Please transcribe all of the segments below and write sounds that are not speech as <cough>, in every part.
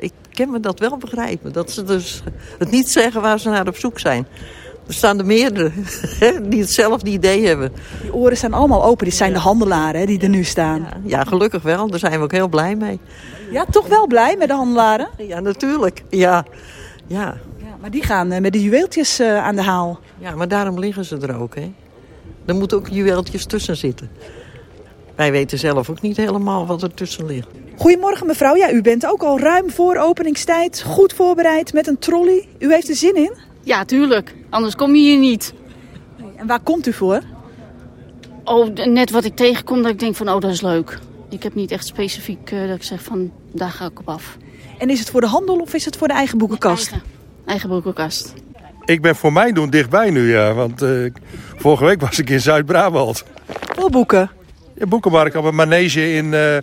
Ik kan me dat wel begrijpen. Dat ze dus het niet zeggen waar ze naar op zoek zijn. Er staan er meerdere <laughs> hè, die hetzelfde idee hebben. Die oren staan allemaal open. Dit zijn de handelaren hè, die er nu staan. Ja, gelukkig wel. Daar zijn we ook heel blij mee. Ja, toch wel blij met de handelaren? Ja, natuurlijk. Ja, ja. Ja, maar die gaan eh, met de juweeltjes eh, aan de haal. ja maar daarom liggen ze er ook. Hè. Er moeten ook juweeltjes tussen zitten. Wij weten zelf ook niet helemaal wat er tussen ligt. Goedemorgen mevrouw. Ja, u bent ook al ruim voor openingstijd. Goed voorbereid met een trolley. U heeft er zin in. Ja, tuurlijk. Anders kom je hier niet. En waar komt u voor? Oh, d- net wat ik tegenkom, dat ik denk van, oh, dat is leuk. Ik heb niet echt specifiek eh, dat ik zeg van, daar ga ik op af. En is het voor de handel of is het voor de eigen boekenkast? Eigen, eigen boekenkast. Ik ben voor mij doen dichtbij nu, ja. Want eh, vorige week was ik in Zuid-Brabant. Voor boeken. In Boekenmarkt op een manege in eh,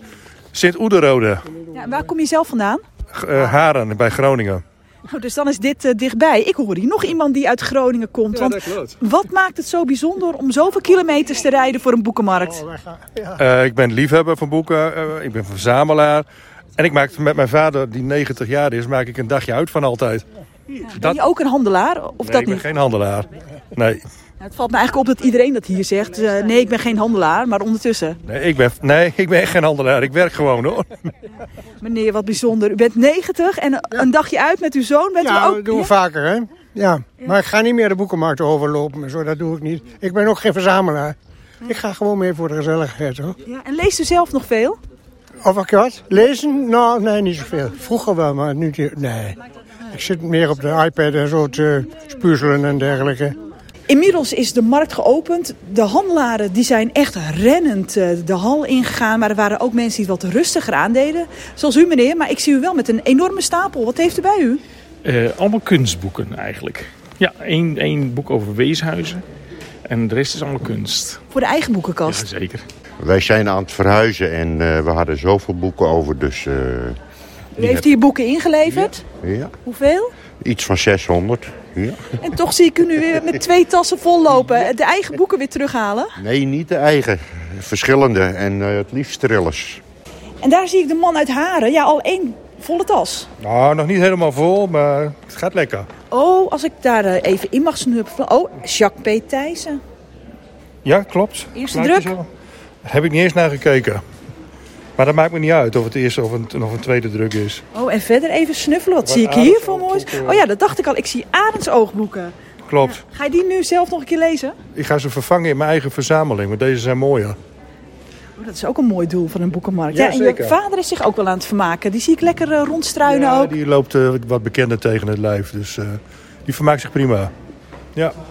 Sint-Oederode. Ja, en waar kom je zelf vandaan? G- eh, Haren, bij Groningen. Oh, dus dan is dit eh, dichtbij. Ik hoor hier nog iemand die uit Groningen komt. want wat maakt het zo bijzonder om zoveel kilometers te rijden voor een Oh, boekenmarkt? Eh, ik ben liefhebber van boeken. eh, ik ben verzamelaar. En ik maak met mijn vader, die 90 jaar is, maak ik een dagje uit van altijd. Ben je ook een handelaar of Nee, dat ik ben niet? geen handelaar. Nee, Nou, het valt me eigenlijk op dat iedereen dat hier zegt. Eh, nee, ik ben geen handelaar, maar ondertussen. nee, ik ben, nee, ik ben echt geen handelaar. Ik werk gewoon hoor. Meneer, wat bijzonder. U bent 90 en een- een dagje uit met uw zoon bent Ja, u ook. dat doen we Ja? vaker, hè? Ja. Maar ik ga niet meer de boekenmarkt overlopen en zo, dat doe ik niet. Ik ben ook geen verzamelaar. Ik ga gewoon mee voor de gezelligheid, hoor. Ja, en leest u zelf nog veel? Of ik wat? Lezen? Nou, nee, niet zoveel. Vroeger wel, maar nu... niet- Nee. Ik zit meer op de iPad en zo te puzzelen en dergelijke. Inmiddels is de markt geopend. De handelaren die zijn echt rennend eh, de hal ingegaan. Maar er waren ook mensen die het wat rustiger aandeden. Zoals u meneer, maar ik zie u wel met een enorme stapel. Wat heeft u bij u? Eh, allemaal kunstboeken eigenlijk. Ja, één, één boek over weeshuizen. En de rest is allemaal kunst. Voor de eigen boekenkast. Jazeker. Wij zijn aan het verhuizen en eh, we hadden zoveel boeken over, dus eh, u heeft hier boeken ingeleverd. ja, Hoeveel? iets van 600. Ja. En toch zie ik u nu weer met twee tassen vol lopen. De eigen boeken weer terughalen. Nee, niet de eigen. Verschillende en eh, het liefst thrillers. En daar zie ik de man uit Haren. Ja, al één volle tas. Nou, nog niet helemaal vol, maar het gaat lekker. Oh, als ik daar eh, even in mag snuppelen. Oh, Jacques P. Thijssen. Ja, klopt. Eerste Lijkt je druk? zo? Heb ik niet eens naar gekeken. Maar dat maakt me niet uit of het eerste of een, of een tweede druk is. Oh, en verder even snuffelen. Wat Wat zie ik hier voor aardig moois? oogboeken. Oh ja, dat dacht ik al. Ik zie arendsoogboeken. Klopt. Ga je die nu zelf nog een keer lezen? Ik ga ze vervangen in mijn eigen verzameling, want deze zijn mooier. Oh, dat is ook een mooi doel van een boekenmarkt. Ja, en je zeker. vader is zich ook wel aan het vermaken. Die zie ik lekker eh, rondstruinen Ja, ook. die loopt eh, wat bekender tegen het lijf, dus eh, die vermaakt zich prima. Ja,